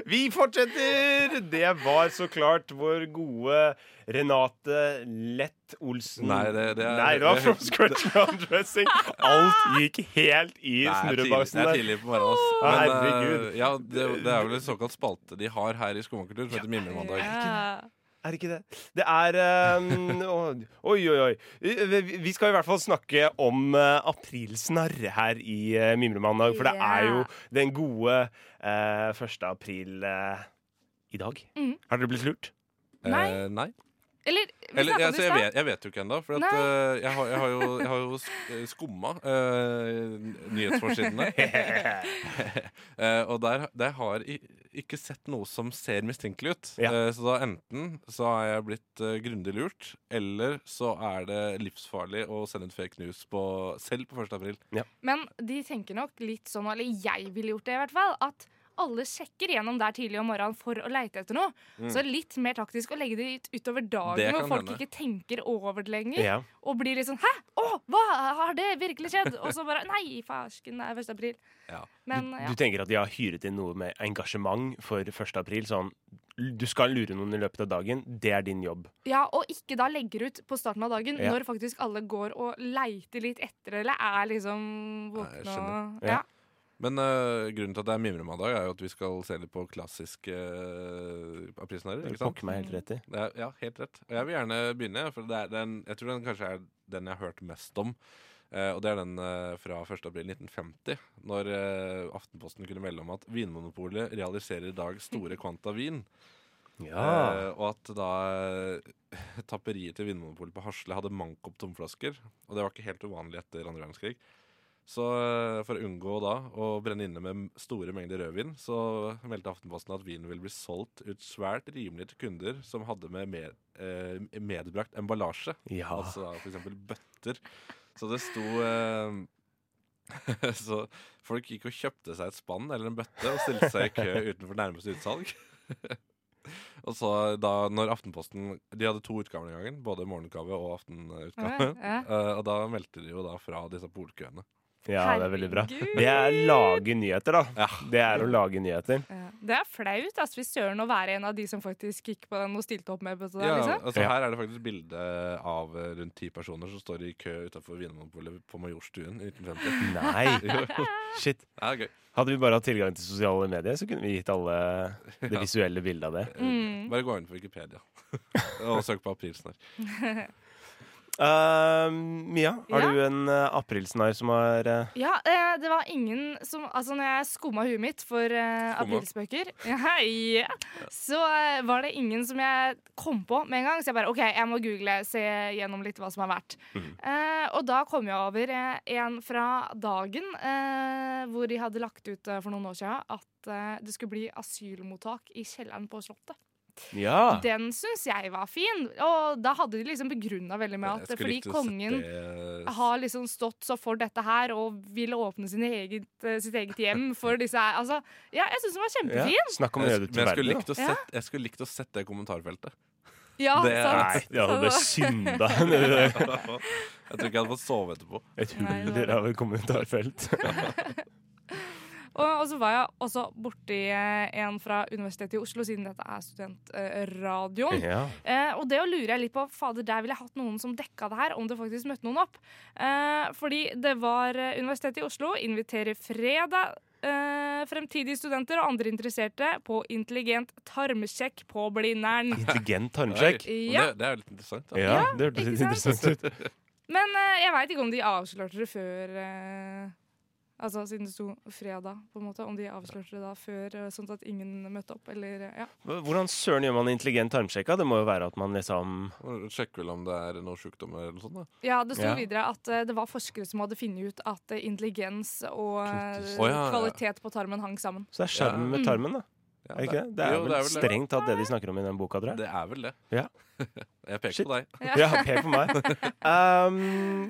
S3: Vi fortsetter! Det var så klart vår gode Renate Lett Olsen.
S5: Nei, det- det er-
S3: Nei, det var
S5: det-
S3: From Scratch med 'Undressing'. Alt gikk helt i
S5: Nei, det er tidlig-
S3: snurrebaksen
S5: det er
S3: der.
S5: tidlig på morgenen. ass.
S3: Å,
S5: Men,
S3: herregud.
S5: eh, ja, det, det er vel en såkalt spalte de har her i Skomakultur som heter Mimremandag.
S4: Eh,
S3: Er det ikke det? Det er um, å- Oi, oi, oi. Vi- Vi skal i hvert fall snakke om eh, aprilsnarr her i eh, Mimremandag, for det er jo den gode eh, 1. april eh, i dag.
S4: Mhm.
S3: Har dere blitt lurt?
S5: Eh, nei.
S4: Eller vi
S5: Eller,
S4: snakket om det
S5: jeg,
S4: i
S5: jeg,
S4: stad.
S5: vet, jeg vet jo ikke ennå. For at,
S4: Nei.
S5: eh, jeg, har, jeg, har jo, jeg har jo sk- eh, skumma eh, nyhetsforsidene. Eh, og der, der har jeg ikke sett noe som ser mistenkelig ut.
S3: Ja.
S5: Eh, så da enten så har jeg blitt uh, grundig lurt, eller så er det livsfarlig å sende ut fake news på, selv på 1. april.
S4: Men de tenker nok litt sånn, eller jeg ville gjort det i hvert fall, at alle sjekker gjennom der tidlig om morgenen for å leite etter noe.
S3: Mm.
S4: Så litt mer taktisk å legge det ut utover
S5: Det
S4: dagen
S5: kan
S4: hvor folk
S5: hende.
S4: ikke tenker over det lenger.
S3: Ja.
S4: Og blir litt sånn 'hæ? Å, hva? Har det virkelig skjedd?' Og så bare 'nei, farsken, det er 1. april'.
S5: Ja.
S4: Men
S3: Du
S4: ja.
S3: tenker at de har hyret inn noe med engasjement for 1. april? Sånn, du skal lure noen i løpet av dagen. Det er din jobb.
S4: ja, og ikke da legger ut på starten av dagen
S3: Ja.
S4: når faktisk alle går og leiter litt etter, eller er liksom
S5: jeg
S4: våkne
S5: skjønner.
S4: og
S3: Ja.
S4: ja.
S5: Men eh, grunnen til at det er mimremandag, er jo at vi skal se litt på klassiske uh, aprilsnarrer.
S3: Du
S5: ikke sant?
S3: pokker meg helt rett i.
S5: Det er, ja, helt rett. Og jeg vil gjerne begynne, for det er den, jeg tror den kanskje er den jeg har hørt mest om. Eh, og det er den eh, fra 1. april 1950, når eh, Aftenposten kunne melde om at Vinmonopolet realiserer i dag store kvanta vin. Eh, og at da eh, tapperiet til Vinmonopolet på Hasle hadde manko på tomflasker. Og det var ikke helt uvanlig etter andre verdenskrig. Så eh, for å unngå da å brenne inne med m- store mengder rødvin, så meldte Aftenposten at vinen ville bli solgt ut svært rimelig til kunder som hadde med, med eh, medbrakt emballasje.
S3: Ja.
S5: Altså da f.eks. bøtter. Så det sto eh, Så folk gikk og kjøpte seg et spann eller en bøtte og stilte seg i kø utenfor nærmeste utsalg. og så da når Aftenposten De hadde to utgaver den gangen, både morgenutgave og aftenutgave.
S4: Ja, ja.
S5: Eh, og da meldte de jo da fra disse polkøene.
S3: ja, det er veldig bra.
S4: Herregud.
S3: Det er lage nyheter, da.
S5: Ja.
S3: Det er å lage nyheter.
S4: Ja. Det er flaut, ass, hvis søren å være en av de som faktisk gikk på den og stilte opp med på det der, liksom.
S5: altså
S3: Ja.
S5: Her er det faktisk bilde av eh, rundt ti personer som står i kø utafor Vinmonopolet på Majorstuen i
S4: Mm.
S5: 1950.
S3: Nei,
S5: Jo.
S3: shit.
S5: Ja, gøy.
S3: Hadde vi bare hatt tilgang til sosiale medier, så kunne vi gitt alle det visuelle bildet av det.
S4: Mm.
S5: Eh, Bare gå inn på Wikipedia og søk på aprilsnarr.
S3: Eh, Mia, har
S4: Ja?
S3: du en uh, aprilsnarr som har eh,
S4: Ja, eh, det var ingen som Altså, når jeg skumma huet mitt for eh,
S5: Skumma.
S4: aprilspøker, ja, ja, så eh, var det ingen som jeg kom på med en gang. Så jeg bare OK, jeg må google, se gjennom litt hva som er verdt. Eh, og da kom jeg over eh, en fra Dagen, eh, hvor de hadde lagt ut eh, for noen år siden at eh, det skulle bli asylmottak i kjelleren på Slottet.
S3: Ja!
S4: Den syns jeg var fin, og da hadde de liksom begrunna veldig med at fordi kongen har liksom stått så for dette her og ville åpne sin eget, eh, sitt eget hjem for disse her. Altså, ja, jeg syns den var kjempefin.
S3: Snakk om å
S5: jeg,
S3: gjøre det
S5: sk- men
S3: til
S5: jeg skulle,
S3: verden.
S5: likt å
S4: Ja.
S5: sett, jeg skulle likt å sett det kommentarfeltet.
S4: Ja,
S5: Det er-
S4: sant?
S3: Nei, det hadde
S4: Så-
S3: synda nedi det
S5: jeg tror ikke jeg hadde fått sove etterpå.
S3: Et
S4: Nei, det
S3: huller
S4: var
S3: av et kommentarfelt.
S4: Og, og så var jeg også borti eh, en fra Universitetet i Oslo, siden dette er studentradioen.
S3: ja.
S4: Eh, og det å lure jeg litt på, fader, der ville jeg hatt noen som dekka det her, om det faktisk møtte noen opp. Eh, fordi det var eh, Universitetet i Oslo inviterer fredag eh, fremtidige studenter og andre interesserte på intelligent tarmsjekk på Blindern.
S3: Intelligent tarmsjekk.
S5: Oi, men
S4: Ja.
S5: Det, det er jo litt interessant. Da.
S3: Ja, det hørtes litt
S4: ikke sant?
S3: interessant ut.
S4: Men eh, jeg veit ikke om de avslørte det før eh, Altså siden det sto fredag, på en måte. Om de avslørte det da før, eh, sånn at ingen møtte opp, eller eh, ja.
S3: Hvordan søren gjør man intelligent tarmsjekk? da? Det må jo være at man liksom
S5: Sjekk vel om det er noen sjukdommer eller noe sånt. Da.
S4: Ja, det sto
S3: Ja.
S4: videre at eh, det var forskere som hadde funnet ut at eh, intelligens og eh,
S5: Knyttes. Å, ja, ja.
S4: kvalitet på tarmen hang sammen.
S3: Så det er sjarmen
S4: Ja.
S3: med tarmen, da.
S5: Ja,
S3: Er det ikke det? Det er
S5: jo,
S3: vel strengt tatt det de snakker om i den boka, tror jeg.
S5: Det er vel det.
S3: Ja.
S5: jeg peker
S3: Shit.
S5: på deg.
S4: Ja.
S3: Ja, pek på meg. Um,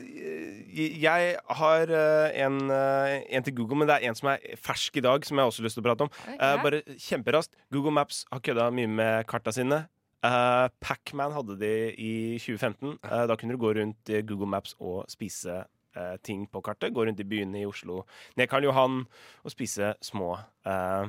S3: j- jeg har eh, en, eh, en til Google, men det er en som er fersk i dag, som jeg også har lyst til å prate om.
S4: Ok.
S3: Eh, bare kjemperaskt. Google Maps har kødda mye med karta sine. Eh, Pacman hadde de i 2015. Eh, da kunne du gå rundt i Google Maps og spise eh, ting på kartet. Gå rundt i byene i Oslo, ned Karl Johan, og spise små eh,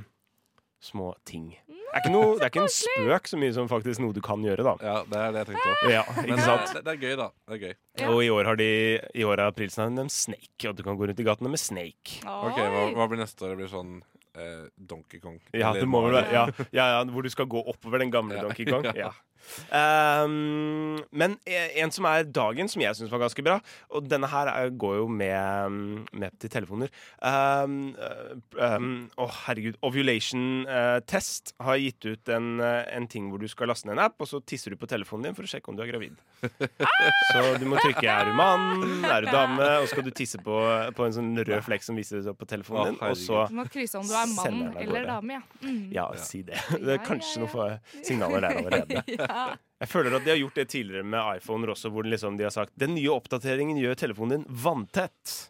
S3: Små ting. Det er ikke, noe, det er ikke en spøk så mye som faktisk noe du kan gjøre, da.
S5: Ja, det er det jeg tenkte på.
S3: Ja,
S5: Men eh,
S3: ikke sant?
S5: Det, det er gøy, da. Det er gøy.
S4: eh, Ja.
S3: Og i år har de i år har aprilsnaren en snake, og du kan gå rundt i gatene med snake.
S5: Ok, hva,
S4: Oi.
S5: hva blir neste år? Det blir sånn eh, Donkey Kong.
S3: Ja,
S5: Eller
S3: det må vel
S5: Mario.
S3: være, ja, ja, ja, hvor du skal gå oppover den gamle
S5: Ja.
S3: Donkey Kong. Ja. Ehm, men en som er dagen, som jeg syns var ganske bra, og denne her er, går jo med, mm, med til telefoner Ehm, eh, ehm, Å, herregud. Ovulation eh, Test har gitt ut en, eh, en ting hvor du skal laste ned en app, og så tisser du på telefonen din for å sjekke om du er gravid. Så du må trykke 'er du mann', 'er du dame', og så skal du tisse på, på en sånn rød flekk som viser seg på
S5: Å,
S3: telefonen din, og så
S4: Du
S5: herregud.
S4: må krysse om du er mann
S3: Sender den av
S4: eller
S3: gårde.
S4: dame, ja. Mm.
S3: ja, si det. Det er
S4: Ja,
S3: kanskje
S4: ja,
S3: noen få signaler der allerede. Jeg føler at de har gjort det tidligere med iPhoner også, hvor liksom de har sagt den nye oppdateringen gjør telefonen din vanntett.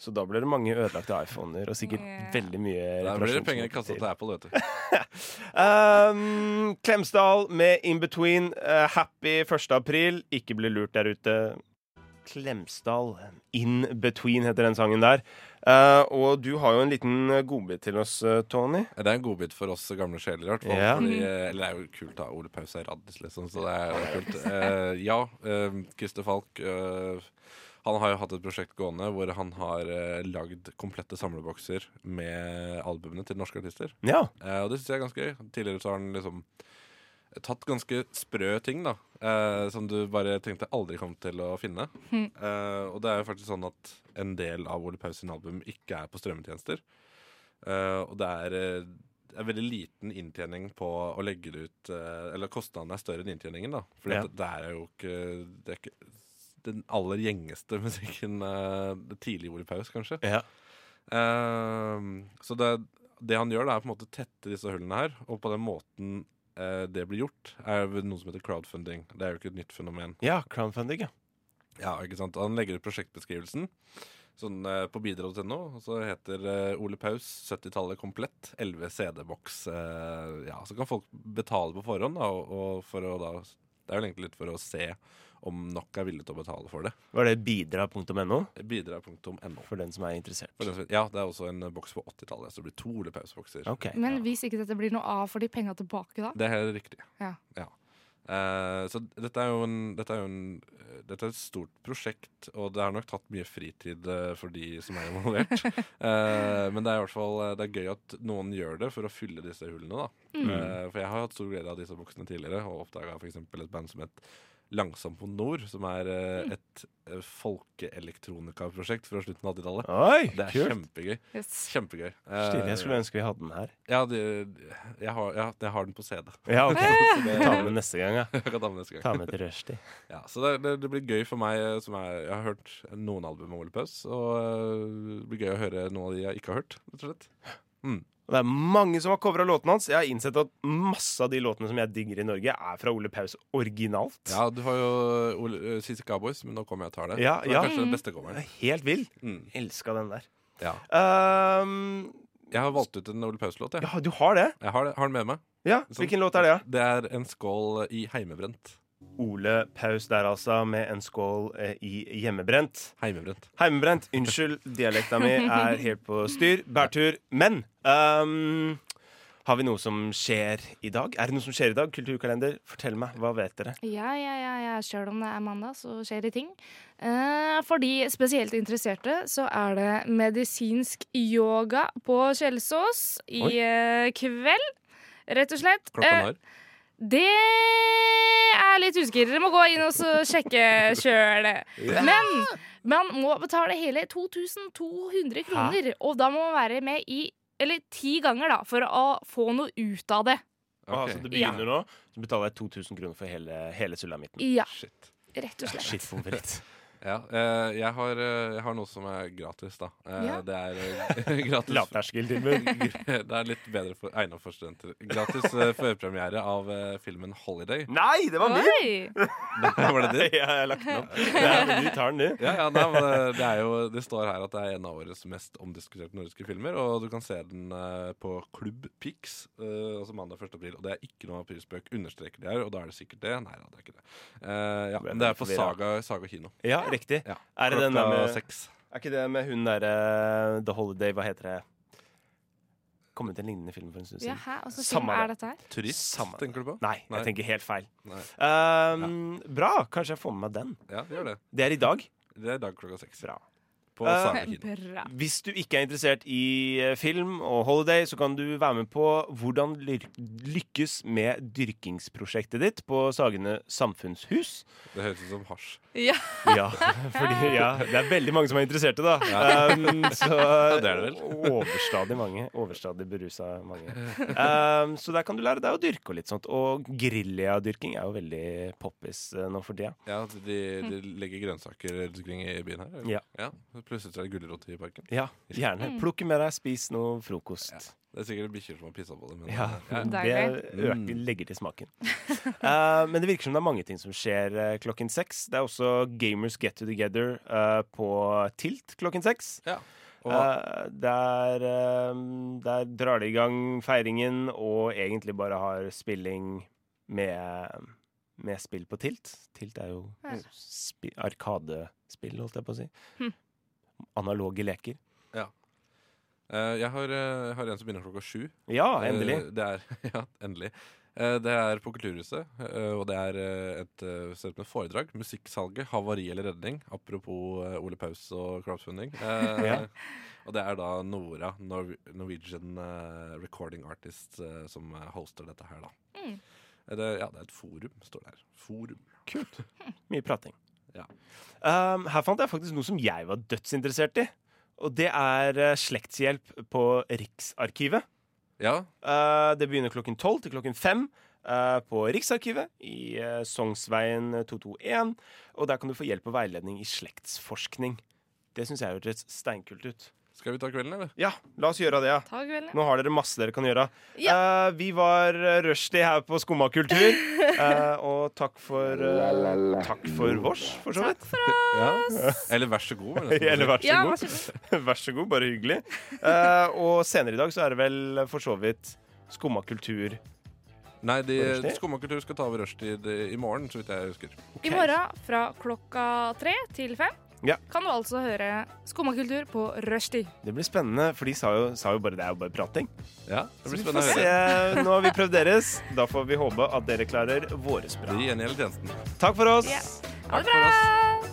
S3: Så da blir det mange ødelagte iPhoner og sikkert
S4: Ja.
S3: veldig mye
S5: Der blir
S3: reparasjon som
S5: det penger
S3: må
S5: kasta
S3: til.
S5: til Apple, vet du.
S3: Um, Klemsdal med In Between. Eh, happy 1. april. Ikke bli lurt der ute. Klemsdal. In Between heter den sangen der. Eh, og du har jo en liten godbit til oss, eh, Tony.
S5: Det er en godbit for oss gamle sjeler, i hvert fall.
S3: Ja.
S5: Fordi, eh, eller det er jo kult, da. Ole Paus er raddis, liksom, så det er jo kult. Eh, ja, eh, Christer Falk eh, han har jo hatt et prosjekt gående hvor han har eh, lagd komplette samlebokser med albumene til norske artister.
S3: Ja.
S5: Eh, og det syns jeg er ganske gøy. Tidligere så har han liksom tatt ganske sprø ting, da. Eh, som du bare tenkte aldri kom til å finne. Eh, og det er jo faktisk sånn at en del av Ole Paus sin album ikke er på strømmetjenester. Eh, og det er eh, det er veldig liten inntjening på å legge det ut eh, Eller kostnaden er større enn inntjeningen, da. For
S3: Ja.
S5: det er jo ikke Det er ikke den aller gjengeste musikken eh, det tidlige Ole Paus, kanskje.
S3: ja.
S5: Ehm, så det, det han gjør, da, er på en måte å tette disse hullene her. Og på den måten eh, det blir gjort, er ved noe som heter crowdfunding. Det er jo ikke et nytt fenomen.
S3: Ja, crowdfunding, ja.
S5: Ja, ikke sant? Han legger ut prosjektbeskrivelsen sånn, eh, på bidrag.no, og så heter eh, Ole Paus 70-tallet komplett. 11 CD-boks. Eh, ja, så kan folk betale på forhånd, da, og, og for å da Det er vel egentlig litt for å se om nok er villige til å betale for det.
S3: Var det bidra.no?
S5: Bidrag.no.
S3: For den som er interessert.
S5: For den som- Ja, det er også en eh, boks på 80-tallet, så det blir to Ole Paus-bokser.
S3: Ok.
S4: Men hvis ikke dette blir noe av, får de penga tilbake da?
S5: Det er helt riktig.
S4: Ja.
S5: Eh, så dette er jo en, dette er jo en eh, dette er et stort prosjekt, og det har nok tatt mye fritid eh, for de som er involvert. Eh, men det er i hvert fall eh, Det er gøy at noen gjør det for å fylle disse hullene. Da. Eh, for jeg har hatt stor glede av disse boksene tidligere, og oppdaga f.eks. et band som het Langsom på Nord, som er eh, et eh, folkeelektronikaprosjekt fra slutten av 80-tallet.
S3: Oi,
S5: Det er
S3: kult!
S5: kjempegøy.
S4: Yes.
S5: Kjempegøy. Eh,
S3: Stilig. Jeg skulle ønske vi hadde den her.
S5: ja, det, jeg, har, ja, jeg har den på CD.
S3: Ja, ok. Ta med den neste gang, ja.
S5: Jeg kan ta med neste gang.
S3: Ta med til rushtid.
S5: Ja, så det, det, det blir gøy for meg eh, som er, Jeg har hørt noen album med Ole Paus, og eh, det blir gøy å høre noen av de jeg ikke har hørt. rett og slett.
S3: Og det er mange som har covra låtene hans. Jeg har innsett at masse av de låtene som jeg digger i Norge, er fra Ole Paus originalt.
S5: Ja, du har jo Ole, eh, CC Cowboys, men nå kommer jeg og tar det.
S3: Ja,
S5: det er
S3: ja.
S5: kanskje den beste
S3: Den
S5: coveren.
S3: er helt vill.
S5: Mm.
S3: Elska den der.
S5: Ja.
S3: Ehm,
S5: Jeg har valgt ut en Ole Paus-låt. Jeg.
S3: ja, du har det?
S5: jeg har, det- har den med meg. Liksom,
S3: Ja, Hvilken låt er det? da?
S5: Det er En skål i heimebrent.
S3: Ole Paus der, altså, med en skål eh, i hjemmebrent.
S5: Heimebrent.
S3: Heimebrent. Unnskyld, dialekta mi er helt på styr. Bærtur. Men ehm, har vi noe som skjer i dag? Er det noe som skjer i dag? Kulturkalender, fortell meg. Hva vet dere?
S4: Ja, ja, ja, ja. Sjøl om det er mandag, så skjer det ting. Eh, for de spesielt interesserte, så er det medisinsk yoga på Kjelsås i
S3: Oi.
S4: eh, kveld. Rett og slett.
S5: Klokka
S4: Eh,
S5: når?
S4: det er litt usikker. Dere må gå inn og så sjekke sjøl. Men man må betale hele 2200 kroner, og da må man være med i eller ti ganger, da, for å få noe ut av det.
S3: Ah,
S5: Ok.
S3: så det
S4: Ja.
S3: begynner nå, så betaler jeg 2000 kroner for hele, hele sulamitten.
S4: Ja,
S5: Shit.
S4: rett og slett.
S3: Shit, pommes frites.
S5: Ja, eh, jeg, har, eh, jeg har noe som er gratis, da. Eh,
S4: Ja.
S5: Det er eh, gratis
S3: Lavterskeltilbud.
S5: Det er litt bedre for, egnet for studenter. Gratis eh, førpremiere av eh, filmen 'Holiday'.
S3: Nei, det var min!
S4: Oi!
S5: Var
S3: Ja,
S5: det din?
S3: jeg har lagt den opp. Ja, men du tar den, du.
S5: Ja, ja, nei, men eh, det, det, er jo, det står her at det er en av årets mest omdiskuterte nordiske filmer. Og du kan se den eh, på Klubb Pix, eh, altså mandag 1. april. Og det er ikke noe aprilspøk. Understreker det her, og da er det sikkert det. Nei da, det er ikke det. Eh, ja, men det er på Saga, Saga kino.
S3: Ja, riktig.
S5: Ja.
S3: Er, det den der
S5: Klokka
S3: med,
S5: seks.
S3: er ikke det med hun derre The Holiday, hva heter det? Kom ut en lignende film for en stund
S4: Ja,
S3: siden.
S4: hæ? Åssen film
S3: Samme
S4: er
S3: det.
S4: dette her?
S5: Turist,
S3: Samme-
S5: tenker du på?
S3: Nei,
S5: Nei.
S3: jeg tenker helt feil.
S5: Nei.
S3: Ehm, Bra. Kanskje jeg får med meg den.
S5: Ja, det gjør det.
S3: Det er i dag.
S5: Det er i dag klokka seks.
S3: Bra.
S5: på
S3: Eh,
S5: Sara kino.
S4: Bra.
S3: Hvis du ikke er interessert i eh, film og holiday, så kan du være med på hvordan lyr- lykkes med dyrkingsprosjektet ditt på Sagene samfunnshus.
S5: Det høres ut som hasj.
S4: Ja.
S3: Ja, fordi ja, det er veldig mange som er interesserte, da. Um, så
S5: det er det vel.
S3: Overstadig mange. Overstadig berusa mange. Um, så der kan du lære deg å dyrke og litt sånt. Og griljadyrking er jo veldig poppis eh, nå for tida.
S5: Ja, at de, de legger grønnsaker rundt omkring i byen her. eller?
S3: Ja.
S5: Plutselig er det gulrot i parken.
S3: Ja,
S4: Mm.
S3: gjerne. Plukke med deg, spis noe frokost.
S5: Det er sikkert bikkjer som har pissa på det. Men
S3: Ja, det
S4: Deilig.
S3: øker, legger til smaken. Eh, men det virker som det er mange ting som skjer eh, klokken seks. Det er også Gamers Get Together eh, på Tilt klokken seks.
S5: ja. Og,
S3: Eh, der, eh, der drar de i gang feiringen og egentlig bare har spilling med, med spill på Tilt. Tilt er jo
S4: Ja.
S3: spi arkadespill, holdt jeg på å si.
S4: Hm.
S3: Analoge leker.
S5: eh, jeg har, eh, jeg har en som begynner klokka sju.
S3: Ja, endelig.
S5: Eh, Det er, ja, endelig. Eh, Det er på Kulturhuset, eh, og det er eh, et eh, sted med foredrag. 'Musikksalget havari eller redning'. Apropos eh, Ole Paus og crowdfunding. Eh,
S3: Ja.
S5: Og det er da Nora, Nor Norwegian eh, recording artist, eh, som eh, hoster dette her, da.
S4: Mm.
S5: Eh, Det, ja, det er et forum, står det her. Forum.
S3: Kult. Mye prating.
S5: Ja.
S3: Um, her fant jeg faktisk noe som jeg var dødsinteressert i. Og det er eh, slektshjelp på Riksarkivet.
S5: Ja,
S3: Eh, det begynner klokken tolv til klokken fem eh, på Riksarkivet i eh, Sognsveien 221. Og der kan du få hjelp og veiledning i slektsforskning. Det syns jeg hørtes steinkult ut.
S5: skal vi ta kvelden, eller?
S3: Ja, la oss gjøre det, ja.
S4: Ta kvelden.
S3: Nå har dere masse dere kan gjøre. Eh, vi var eh, Rushdie her på Skumma kultur. Eh, og takk for
S2: La, la,
S3: eh,
S2: la.
S3: Takk for vårs, for så vidt.
S5: Ja. Eller vær så god. var det nesten.
S3: Eller vær så
S4: Ja, vær
S3: god.
S4: så god.
S3: Vær så god, bare hyggelig. Eh, og senere i dag så er det vel for så vidt Skumma kultur.
S5: Nei, de,
S3: Rushdie?
S5: Skumma kultur skal ta over rushtid eh, i morgen, så vidt jeg husker.
S4: I morgen fra klokka tre til fem
S3: Ja.
S4: kan du altså høre Skummakultur på rushtid.
S3: Det blir spennende, for de sa jo, sa jo bare det er jo bare prating.
S5: Ja, det
S3: Vi
S5: blir
S3: får
S5: spennende å
S3: se.
S5: høre.
S3: Nå har vi prøvd deres. Da får vi håpe at dere klarer våres bra.
S5: Det gir gjengjeld tjenesten.
S3: Takk for oss.
S4: Ja. Ha
S5: Takk
S4: det
S5: for
S4: bra!